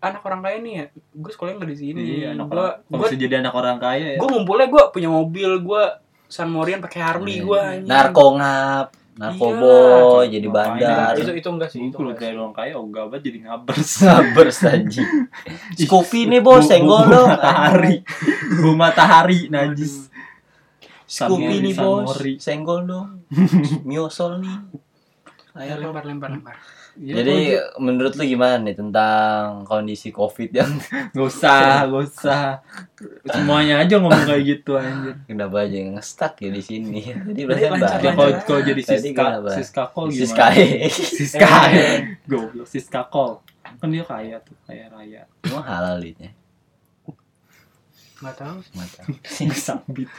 Speaker 1: anak orang kaya nih ya gue sekolahnya nggak di sini
Speaker 3: Iya anak
Speaker 1: gue
Speaker 3: orang Kalau bisa jadi anak orang kaya ya
Speaker 1: gue ngumpulnya gue punya mobil gue San Morian pakai Harley gue
Speaker 2: Iya. narkongap narkoboy
Speaker 3: Iya.
Speaker 2: jadi
Speaker 3: Ngapain
Speaker 2: bandar
Speaker 1: Nah, itu itu enggak sih
Speaker 3: Gue
Speaker 1: itu
Speaker 3: kalau
Speaker 1: enggak
Speaker 3: dari
Speaker 1: sih.
Speaker 3: orang kaya ogah banget jadi ngabers
Speaker 2: sabar saji kopi nih bos
Speaker 3: Bu-
Speaker 2: senggol
Speaker 3: bu- bu
Speaker 2: dong
Speaker 3: matahari Bu matahari najis
Speaker 2: Kopi
Speaker 3: Sambil
Speaker 2: nih
Speaker 3: San
Speaker 2: bos,
Speaker 3: Mori.
Speaker 2: senggol dong, miosol nih.
Speaker 1: Ayo, lempar lempar lempar
Speaker 3: Iya,
Speaker 2: Jadi menurut lu gimana nih tentang kondisi covid yang
Speaker 3: Gak
Speaker 2: Iya.
Speaker 3: usah Gak usah Semuanya aja ngomong kayak gitu anjir
Speaker 2: kenapa aja yang stuck ya di sini? Jadi
Speaker 1: Jadi
Speaker 2: berasa
Speaker 1: lancar,
Speaker 3: Ya
Speaker 2: banyak.
Speaker 3: kalau kalau jadi
Speaker 2: Tadi
Speaker 3: Siska
Speaker 2: kenapa?
Speaker 3: Siska Call
Speaker 2: Sis
Speaker 3: gimana?
Speaker 2: kaya,
Speaker 3: Siska
Speaker 1: Eh.
Speaker 3: Goblok Siska Call Kan dia kaya tuh Kaya raya
Speaker 2: cuma halal liatnya.
Speaker 1: nggak tahu
Speaker 3: sambit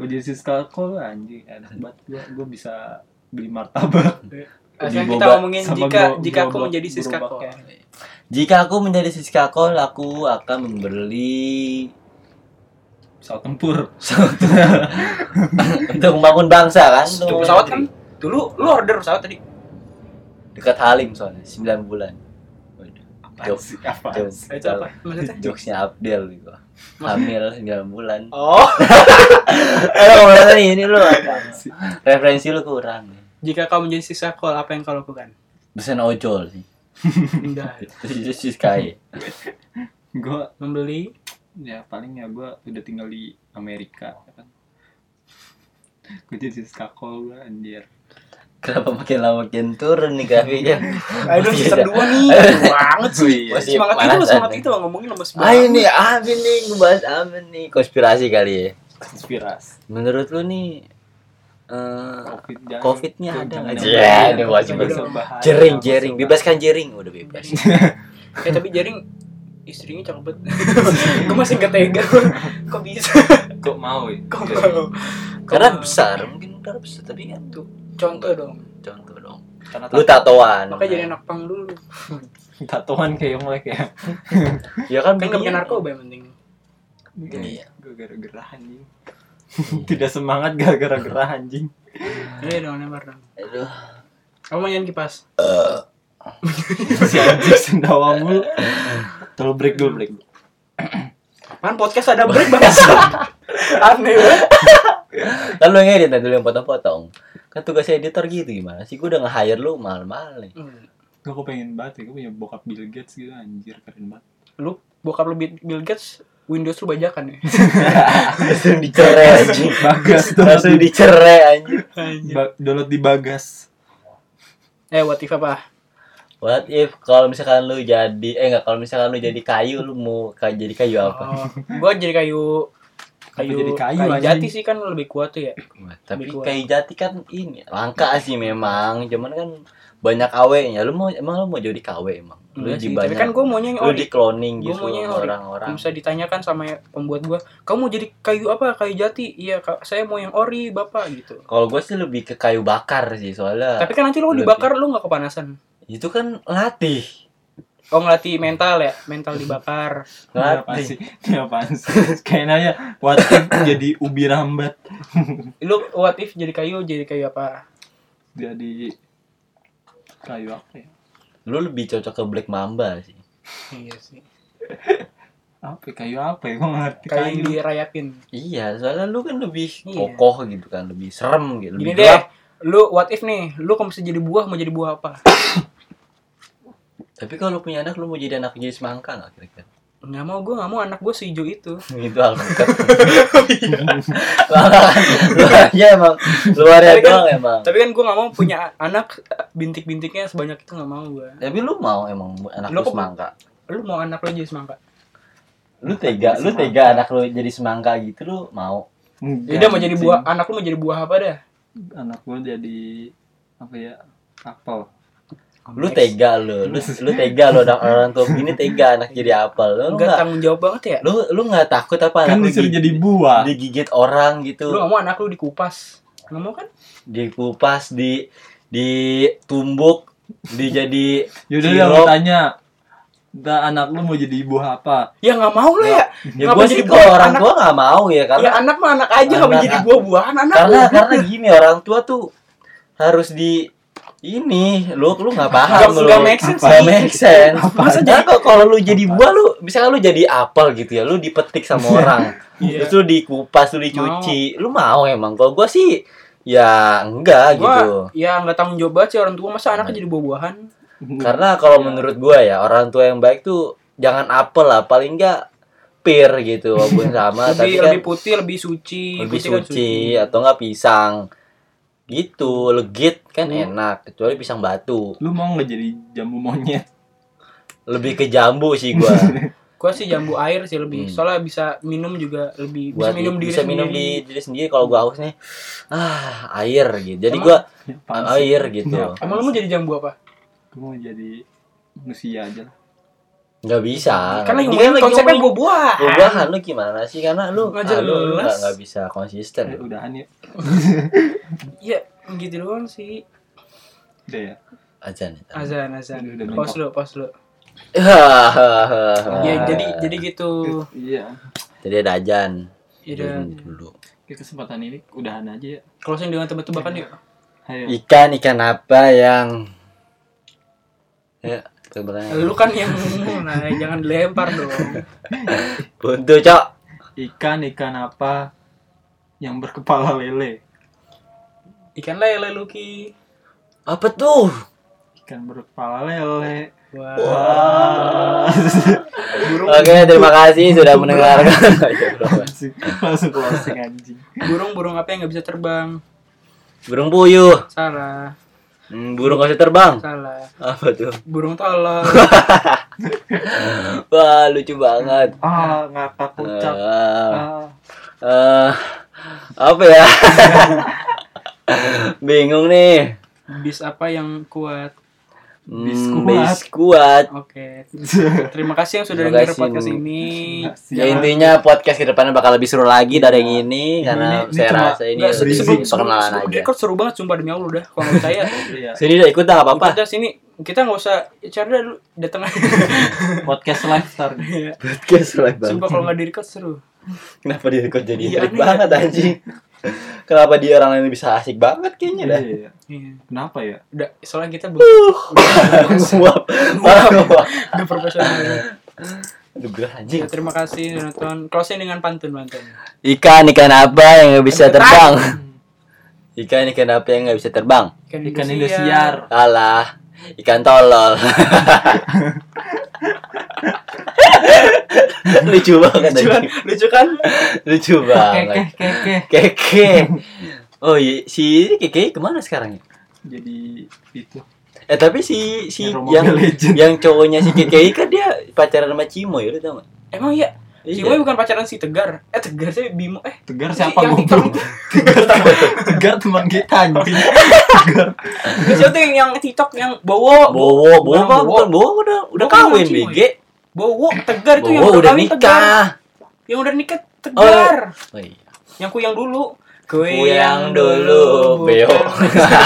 Speaker 3: gue jadi sis kalkol anjing enak banget gue gue bisa beli
Speaker 1: Eh,
Speaker 3: martabak
Speaker 2: Di
Speaker 1: sekarang kita
Speaker 2: boba-
Speaker 1: ngomongin
Speaker 3: sama
Speaker 1: jika
Speaker 3: gero-
Speaker 1: jika aku
Speaker 3: gerobak-
Speaker 1: menjadi siska
Speaker 3: gerobak
Speaker 1: kok
Speaker 3: ya.
Speaker 2: Jika aku menjadi Siska Kol, aku akan membeli
Speaker 3: pesawat tempur
Speaker 2: untuk membangun bangsa kan?
Speaker 1: Tuh, pesawat kan dulu lu order pesawat tadi
Speaker 2: dekat Halim soalnya 9 bulan. Waduh.
Speaker 3: apa
Speaker 2: Jauh.
Speaker 3: sih apa
Speaker 2: Jauh.
Speaker 3: sih?
Speaker 1: itu apa maksudnya
Speaker 2: Jokesnya Abdel gitu. Hamil 9 bulan.
Speaker 1: oh
Speaker 2: Eh, ngomongin ini lu apa? Referensi lu kurang.
Speaker 1: jika kau menjadi siska kol apa yang kau lakukan
Speaker 2: Pesan ojol sih.
Speaker 1: Enggak.
Speaker 2: Itu Siska.
Speaker 3: gue
Speaker 1: membeli
Speaker 3: ya paling ya gue udah tinggal di Amerika ya kan gue jadi skakol gue anjir
Speaker 2: Kenapa makin lama makin turun nih grafiknya?
Speaker 1: aduh season dua nih banget sih
Speaker 2: Masih
Speaker 1: semangat itu loh
Speaker 2: panasan
Speaker 1: semangat
Speaker 2: nih.
Speaker 1: itu loh ngomongin lemes
Speaker 2: Ah
Speaker 1: banget
Speaker 2: ini Amin nih ngebahas Amin nih konspirasi kali ya.
Speaker 3: konspirasi
Speaker 2: Menurut lu nih eh
Speaker 3: covid jangan-
Speaker 2: Covid-nya
Speaker 3: jangan-
Speaker 2: ada
Speaker 3: jangan-
Speaker 2: nggak
Speaker 3: jangan-
Speaker 2: sih?
Speaker 3: jangan-
Speaker 2: Ya,
Speaker 3: jangan-
Speaker 2: ini wajib
Speaker 3: jangan
Speaker 1: banget.
Speaker 3: berbahaya.
Speaker 2: jering jering bebaskan jering udah bebas.
Speaker 1: Iya, ya tapi jaring istrinya cakep banget gue masih gak tega kok bisa
Speaker 3: kok mau ya
Speaker 1: kok
Speaker 3: Iya.
Speaker 1: mau
Speaker 2: Karena
Speaker 1: Kok mau?
Speaker 2: besar mungkin karena besar tapi kan tuh
Speaker 1: contoh dong
Speaker 2: contoh dong.
Speaker 3: karena
Speaker 2: Lu tatoan.
Speaker 1: makanya jadi anak pang dulu
Speaker 3: tatoan kayak mulai kayak
Speaker 2: Ya kan
Speaker 1: kan gak punya
Speaker 2: bininya-
Speaker 1: narkoba yang penting
Speaker 2: Iya.
Speaker 3: gue gara-gara anjing tidak semangat gara-gara gerah anjing
Speaker 1: Ayo Iya dong lempar dong
Speaker 2: Aduh.
Speaker 1: kamu main kipas
Speaker 3: si anjing sendawa mulu tolong break dulu break
Speaker 1: Apaan podcast ada break bangsa aneh banget
Speaker 2: Kan lu yang edit nah, dulu yang potong-potong. Kan tugasnya editor gitu gimana sih? Gue udah nge-hire lu mahal-mahal nih.
Speaker 1: Hmm.
Speaker 3: gue kok pengen banget ya gue punya bokap Bill Gates gitu anjir keren banget
Speaker 1: lu bokap lu Bill Bill Gates Windows lu bajakan ya
Speaker 2: Langsung dicerai anjing.
Speaker 3: bagas download
Speaker 2: Langsung dicerai anjing.
Speaker 3: di, ba- download di bagas
Speaker 1: eh what if apa
Speaker 2: What if kalau misalkan lu jadi eh enggak kalau misalkan lu jadi kayu lu mau ka- jadi kayu apa?
Speaker 1: oh, gua jadi kayu kayu
Speaker 3: jadi kayu, anjing?
Speaker 1: jati sih kan lebih kuat tuh ya
Speaker 2: Tapi
Speaker 1: Gua.
Speaker 2: kayu jati kan ini langka sih memang, cuman kan banyak awenya. Lu mau emang lu mau jadi KW emang. Lu
Speaker 1: Enggak
Speaker 2: di
Speaker 1: sih, tapi kan
Speaker 2: banyak.
Speaker 1: gua maunya yang
Speaker 2: Lu
Speaker 1: ori
Speaker 2: di cloning
Speaker 1: Gua
Speaker 2: gitu
Speaker 1: maunya yang
Speaker 2: sama
Speaker 1: ori.
Speaker 2: orang-orang.
Speaker 1: Kalau bisa ditanyakan sama pembuat gua kamu mau jadi kayu apa kayu jati iya Kak, saya mau yang ori bapak gitu
Speaker 2: Kalau gue sih lebih ke kayu bakar sih soalnya
Speaker 1: tapi kan nanti lu
Speaker 2: Nah, lebih.
Speaker 1: dibakar lu nggak kepanasan
Speaker 2: itu kan latih.
Speaker 1: oh ngelatih mental ya mental dibakar
Speaker 3: Ini apaan
Speaker 2: Latih.
Speaker 3: sih? Ini apaan sih? Kayak nanya, what if jadi ubi rambat?
Speaker 1: lu what if jadi kayu jadi kayu apa
Speaker 3: Jadi kayu apa ya?
Speaker 2: Lu lebih cocok ke Black Mamba sih.
Speaker 1: iya sih
Speaker 3: Apa ya? kayu apa ya? Gue ngerti
Speaker 1: kayu
Speaker 3: kayu.
Speaker 1: yang dirayapin
Speaker 2: Iya, soalnya lu kan lebih
Speaker 1: Iya.
Speaker 2: kokoh gitu kan, lebih serem gitu,
Speaker 1: Gini
Speaker 2: lebih
Speaker 1: deh,
Speaker 2: gelap.
Speaker 1: lu what if nih, lu kalau bisa jadi buah mau jadi buah apa?
Speaker 2: Tapi kalau punya anak lu mau jadi anak jenis mangka nggak kira-kira?
Speaker 1: Nggak mau gue, nggak mau anak gue sehijau itu.
Speaker 2: itu alpukat luarnya Iya, emang luarnya
Speaker 1: Tapi kan-
Speaker 2: doang emang
Speaker 1: Tapi kan gue nggak mau punya anak eh, bintik-bintiknya sebanyak itu nggak mau gue.
Speaker 2: tapi lu mau emang anak
Speaker 1: Lu
Speaker 2: lu
Speaker 1: kok-
Speaker 2: semangka
Speaker 1: Lu mau anak lu jadi semangka?
Speaker 2: lu tega lu
Speaker 3: Semangka.
Speaker 2: tega anak lu jadi semangka gitu lu mau
Speaker 3: Enggak,
Speaker 2: Iya,
Speaker 1: Jadi mau jadi
Speaker 3: anjing.
Speaker 1: buah, anak lu mau jadi buah apa dah?
Speaker 3: Anak gue jadi apa ya? Apel.
Speaker 2: lu tega lu lu, lu tega lu orang orang tua gini tega anak jadi apel lu
Speaker 1: Enggak
Speaker 2: nggak
Speaker 1: tanggung jawab banget ya?
Speaker 2: lu lu nggak takut apa anak
Speaker 3: Kan
Speaker 2: lu
Speaker 3: disuruh
Speaker 2: di-
Speaker 3: jadi buah.
Speaker 2: digigit orang
Speaker 1: Lu
Speaker 2: gitu
Speaker 1: nggak mau anak lu dikupas? Nggak mau kan?
Speaker 2: dikupas di ditumbuk dijadi
Speaker 3: Yaudah deh, mau
Speaker 2: sirup.
Speaker 3: tanya. Da, anak lu mau jadi buah apa?
Speaker 1: Ya nggak mau lah ya.
Speaker 2: ya
Speaker 1: Ngapa
Speaker 2: gua
Speaker 1: jadi
Speaker 2: sih
Speaker 1: buah
Speaker 2: kalau orang
Speaker 1: anak?
Speaker 2: tua nggak mau ya
Speaker 1: Ya
Speaker 2: karena
Speaker 1: anak mah anak aja nggak mau
Speaker 2: Anak-
Speaker 1: jadi buah-buahan anak.
Speaker 2: karena karena gini orang tua tuh harus di ini lu lu nggak paham
Speaker 1: Nggak-
Speaker 2: lu
Speaker 1: nggak make sense
Speaker 2: Nggak
Speaker 1: sih.
Speaker 2: make sense.
Speaker 3: Apa?
Speaker 2: Masa jadi kok kalau lu jadi buah lu misalnya lu jadi apel gitu ya lu dipetik sama orang
Speaker 1: Iya.
Speaker 2: terus lu dikupas lu dicuci lu mau emang kalau gua sih ya enggak
Speaker 1: Gua,
Speaker 2: gitu Nah.
Speaker 1: ya nggak tanggung jawab banget sih orang tua masa anaknya jadi buah-buahan.
Speaker 2: karena kalau
Speaker 3: Iya.
Speaker 2: menurut gua ya orang tua yang baik tuh jangan apel lah paling enggak pir gitu walaupun
Speaker 1: Lebih
Speaker 2: sama tapi kan
Speaker 1: lebih putih, lebih suci,
Speaker 2: lebih
Speaker 1: putih kan
Speaker 2: suci atau enggak pisang gitu legit kan
Speaker 3: Hmm.
Speaker 2: enak kecuali pisang batu
Speaker 3: Lu mau nggak jadi jambu monyet?
Speaker 2: lebih ke jambu sih gua
Speaker 1: Gua sih jambu air sih lebih.
Speaker 2: Hmm.
Speaker 1: Soalnya bisa minum juga lebih bisa
Speaker 2: buat
Speaker 1: minum diri
Speaker 2: bisa minum
Speaker 1: sendiri.
Speaker 2: di diri sendiri kalau gua haus nih ah air gitu jadi
Speaker 1: Emang-
Speaker 2: gua
Speaker 3: Apaan sih?
Speaker 2: air gitu
Speaker 3: Oh, Iya.
Speaker 1: Emang lu mau jadi jambu apa?
Speaker 3: Gue mau jadi manusia aja lah.
Speaker 2: nggak bisa
Speaker 1: Kan lagi
Speaker 2: Ini
Speaker 1: ngomongin konsepnya
Speaker 2: Ah, ngomongin
Speaker 1: gue buat.
Speaker 2: perubahan lu gimana sih karena lu
Speaker 1: Nggak
Speaker 2: ah, lu
Speaker 1: jelas.
Speaker 2: nggak nggak bisa
Speaker 3: Ya,
Speaker 2: konsisten
Speaker 3: udahan ya.
Speaker 1: Iya, gitu doang sih.
Speaker 3: Udah ya.
Speaker 2: aja nih
Speaker 1: Azan, azan.
Speaker 3: Udah, udah,
Speaker 1: Pause dulu, pause dulu.
Speaker 2: Hahaha.
Speaker 1: Ya, jadi jadi gitu.
Speaker 3: Iya.
Speaker 2: Ah, jadi ada ajan
Speaker 1: Iya.
Speaker 2: dulu
Speaker 3: Oke, kesempatan ini udahan aja ya.
Speaker 1: Closing dengan tebak-tebakan yuk.
Speaker 3: Ayo.
Speaker 2: ikan ikan apa yang ya
Speaker 1: Lu kan yang nah, jangan dilempar dong.
Speaker 2: buntu cok
Speaker 3: Ikan ikan apa yang berkepala lele?
Speaker 1: Ikan lele Lucky.
Speaker 2: apa tuh
Speaker 3: Ikan berkepala lele.
Speaker 1: Wah,
Speaker 3: Ah.
Speaker 1: burung
Speaker 2: oke terima kasih sudah mendengarkan
Speaker 3: Langsung- Langsung closing anjing.
Speaker 1: burung burung apa yang nggak bisa terbang?
Speaker 2: burung puyuh
Speaker 1: Salah,
Speaker 2: Hmm, burung kasih terbang
Speaker 1: salah.
Speaker 2: apa tuh
Speaker 1: Burung tolol.
Speaker 2: wah lucu banget
Speaker 3: Ah, ngakak ucap.
Speaker 2: Eh,
Speaker 3: Ah,
Speaker 2: eh, apa ya bingung nih
Speaker 1: Bis apa yang kuat?
Speaker 2: Hmm,
Speaker 3: Biskuat.
Speaker 2: biskuat
Speaker 1: Oke. Terima kasih yang sudah
Speaker 2: Terima
Speaker 1: dengar
Speaker 2: kasih.
Speaker 1: podcast ini.
Speaker 2: Ya intinya podcast kedepannya bakal lebih seru lagi dari yang ini karena
Speaker 3: ini- ini
Speaker 2: saya
Speaker 3: cuma-
Speaker 2: rasa ini
Speaker 1: Enggak,
Speaker 3: berisik.
Speaker 1: sebelum
Speaker 2: perkenalan
Speaker 1: sebelum
Speaker 2: aja.
Speaker 1: record seru banget sumpah demi Allah udah. Kalau menurut saya
Speaker 3: Iya.
Speaker 2: Sini udah ikut dah nggak apa-apa.
Speaker 1: kita sini kita nggak usah cari dulu datang aja.
Speaker 3: Podcast lifestyle.
Speaker 1: Iya.
Speaker 2: Podcast live
Speaker 1: sumpah kalau nggak di record seru.
Speaker 2: Kenapa dia kok jadi
Speaker 1: Iya,
Speaker 2: asik
Speaker 1: aneh.
Speaker 2: banget anjing? Kenapa dia orang lain bisa asik banget kayaknya
Speaker 3: Iya,
Speaker 2: dah.
Speaker 3: iya.
Speaker 1: Iya.
Speaker 3: Kenapa ya?
Speaker 1: Udah, soalnya kita belum
Speaker 2: Uh. Nguap. Malah nguap.
Speaker 1: udah profesional.
Speaker 2: Aduh, gerah, anjing.
Speaker 1: Ya, terima kasih sudah nonton. Closing dengan pantun pantun.
Speaker 2: Ikan ikan apa yang nggak bisa terbang? Ikan ikan apa yang nggak bisa terbang?
Speaker 3: Ikan Indosiar.
Speaker 2: Alah, ikan tolol. lucu banget
Speaker 1: Lucu kan?
Speaker 2: anjing.
Speaker 1: Lucu kan?
Speaker 2: lucu
Speaker 3: Kekeh,
Speaker 2: banget
Speaker 3: kekeh.
Speaker 2: keke oh iya si keke kemana sekarang ya
Speaker 3: Jadi itu.
Speaker 2: eh tapi si si
Speaker 3: Yang
Speaker 2: yang
Speaker 3: Mobile Legends.
Speaker 2: yang cowoknya si keke kan dia pacaran sama Cimo ya lu tau gak
Speaker 1: Emang iya. Si Boy
Speaker 2: Iya.
Speaker 1: bukan pacaran si Tegar. Eh Tegar sih Bimo eh
Speaker 3: Tegar
Speaker 1: Si-
Speaker 3: siapa
Speaker 1: yang
Speaker 3: goblok?
Speaker 1: hitam.
Speaker 3: Tegar teman- Tegar teman kita anjing.
Speaker 1: Siapa tuh yang, yang TikTok yang Bowo,
Speaker 2: Bowo, Bowo,
Speaker 1: Bukan
Speaker 2: apa?
Speaker 1: Bowo.
Speaker 2: bukan Bowo udah udah
Speaker 1: Bowo kan
Speaker 2: kawin
Speaker 1: Cimo,
Speaker 2: BG.
Speaker 1: Bowo Tegar itu yang kan?
Speaker 2: Bowo udah
Speaker 1: kawin Tegar.
Speaker 2: nikah.
Speaker 1: Yang udah nikah Tegar.
Speaker 2: Oh, iya.
Speaker 1: Yang kuyang dulu.
Speaker 2: Kuyang dulu, beo,
Speaker 1: bukan.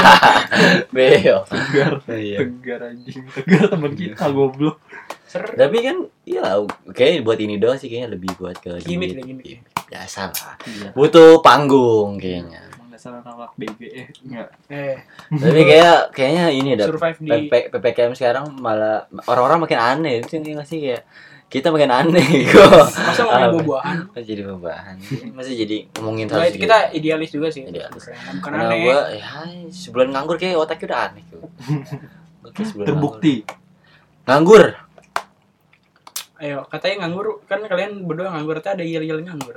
Speaker 2: beo.
Speaker 3: Tegar.
Speaker 2: Oh, iya.
Speaker 3: Tegar anjing. Tegar teman kita goblok.
Speaker 1: Ser-
Speaker 2: Tapi kan, iya oke buat ini doang sih kayaknya lebih buat ke Iya,
Speaker 1: Gimik deh, gimik.
Speaker 2: Biasa lah.
Speaker 3: Iya.
Speaker 2: Butuh panggung kayaknya.
Speaker 3: Emang dasar anak BG eh enggak.
Speaker 1: Eh,
Speaker 2: Tapi kayak kayaknya ini dah.
Speaker 1: survive di
Speaker 2: PP, PPKM sekarang malah orang-orang makin aneh itu yang ngasih kayak kita makin aneh kok.
Speaker 1: masa ngomongin
Speaker 2: Ah,
Speaker 1: buah-buahan.
Speaker 2: Masih jadi pembahasan. Masih jadi ngomongin
Speaker 1: Nah, itu
Speaker 2: gitu.
Speaker 1: kita idealis juga sih.
Speaker 2: Idealis.
Speaker 1: Bukan
Speaker 2: Karena
Speaker 1: aneh.
Speaker 2: gua ya sebulan nganggur kayak otaknya udah aneh kok. Gua kayak sebulan
Speaker 3: Terbukti.
Speaker 2: Nganggur.
Speaker 1: Ayo, katanya nganggur. Kan kalian berdua nganggur. Tadi ada yel-yel nganggur.
Speaker 2: Nganggur.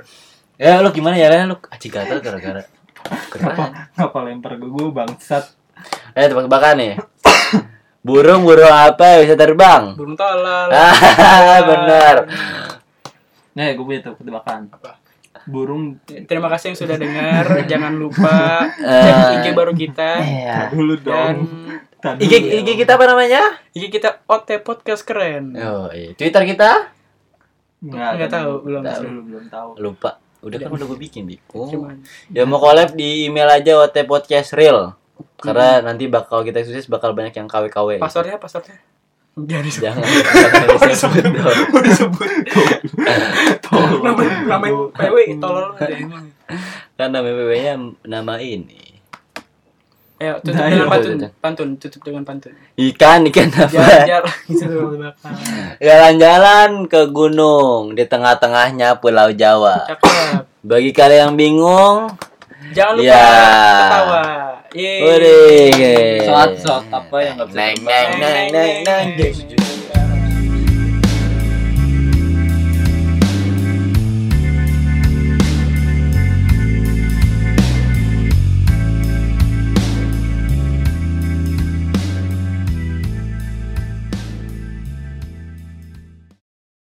Speaker 2: Ya lu gimana ya lu aji gatal gara-gara. Keren.
Speaker 3: Kenapa kenapa lempar ke gue bangsat?
Speaker 2: Eh tebak-tebakan nih. Burung-burung apa yang bisa terbang?
Speaker 1: Burung tolol.
Speaker 2: Ah, benar.
Speaker 3: Nah, gue punya tebak- tebakan.
Speaker 1: Apa?
Speaker 3: Burung
Speaker 1: Terima kasih yang sudah dengar. Jangan lupa cek
Speaker 2: Eh.
Speaker 1: IG baru kita
Speaker 2: Iya.
Speaker 3: Tadi dulu
Speaker 1: dan
Speaker 3: dong. Tadi
Speaker 2: IG, IG kita apa namanya?
Speaker 1: IG kita OT Podcast keren.
Speaker 2: Oh, iya. Twitter kita?
Speaker 3: Enggak,
Speaker 1: Nggak tahu, belum
Speaker 3: tahu.
Speaker 1: tahu.
Speaker 3: Belum, belum tahu.
Speaker 2: Lupa. Udah kan udah gue bikin, Dik. Oh.
Speaker 1: Cuman
Speaker 2: Ya mau collab di email aja OT Podcast Real. Karena nanti bakal kita sukses bakal banyak yang KW-KW.
Speaker 1: passwordnya passwordnya nggak disebut.
Speaker 2: Jangan. jangan disebut dong.
Speaker 1: Mau disebut.
Speaker 3: Tolong.
Speaker 1: Namain namain PW tolol aja emang.
Speaker 2: Kan nama PW-nya nama ini.
Speaker 1: Ayo tutup
Speaker 3: Nah,
Speaker 1: dengan
Speaker 2: iya.
Speaker 1: pantun.
Speaker 2: Udah, udah.
Speaker 1: Pantun tutup dengan pantun.
Speaker 2: Ikan, ikan apa?
Speaker 1: Jalan-jalan gitu belakang.
Speaker 2: Jalan-jalan ke gunung di tengah-tengahnya Pulau Jawa.
Speaker 1: Cakep.
Speaker 2: Bagi kalian yang bingung,
Speaker 1: Jangan lupa
Speaker 2: Iya.
Speaker 1: ketawa. Yeay.
Speaker 2: Wih.
Speaker 3: Soat-soat apa yang nggak bisa
Speaker 2: Neng,
Speaker 3: terbang?
Speaker 2: neng, neng, neng, neng.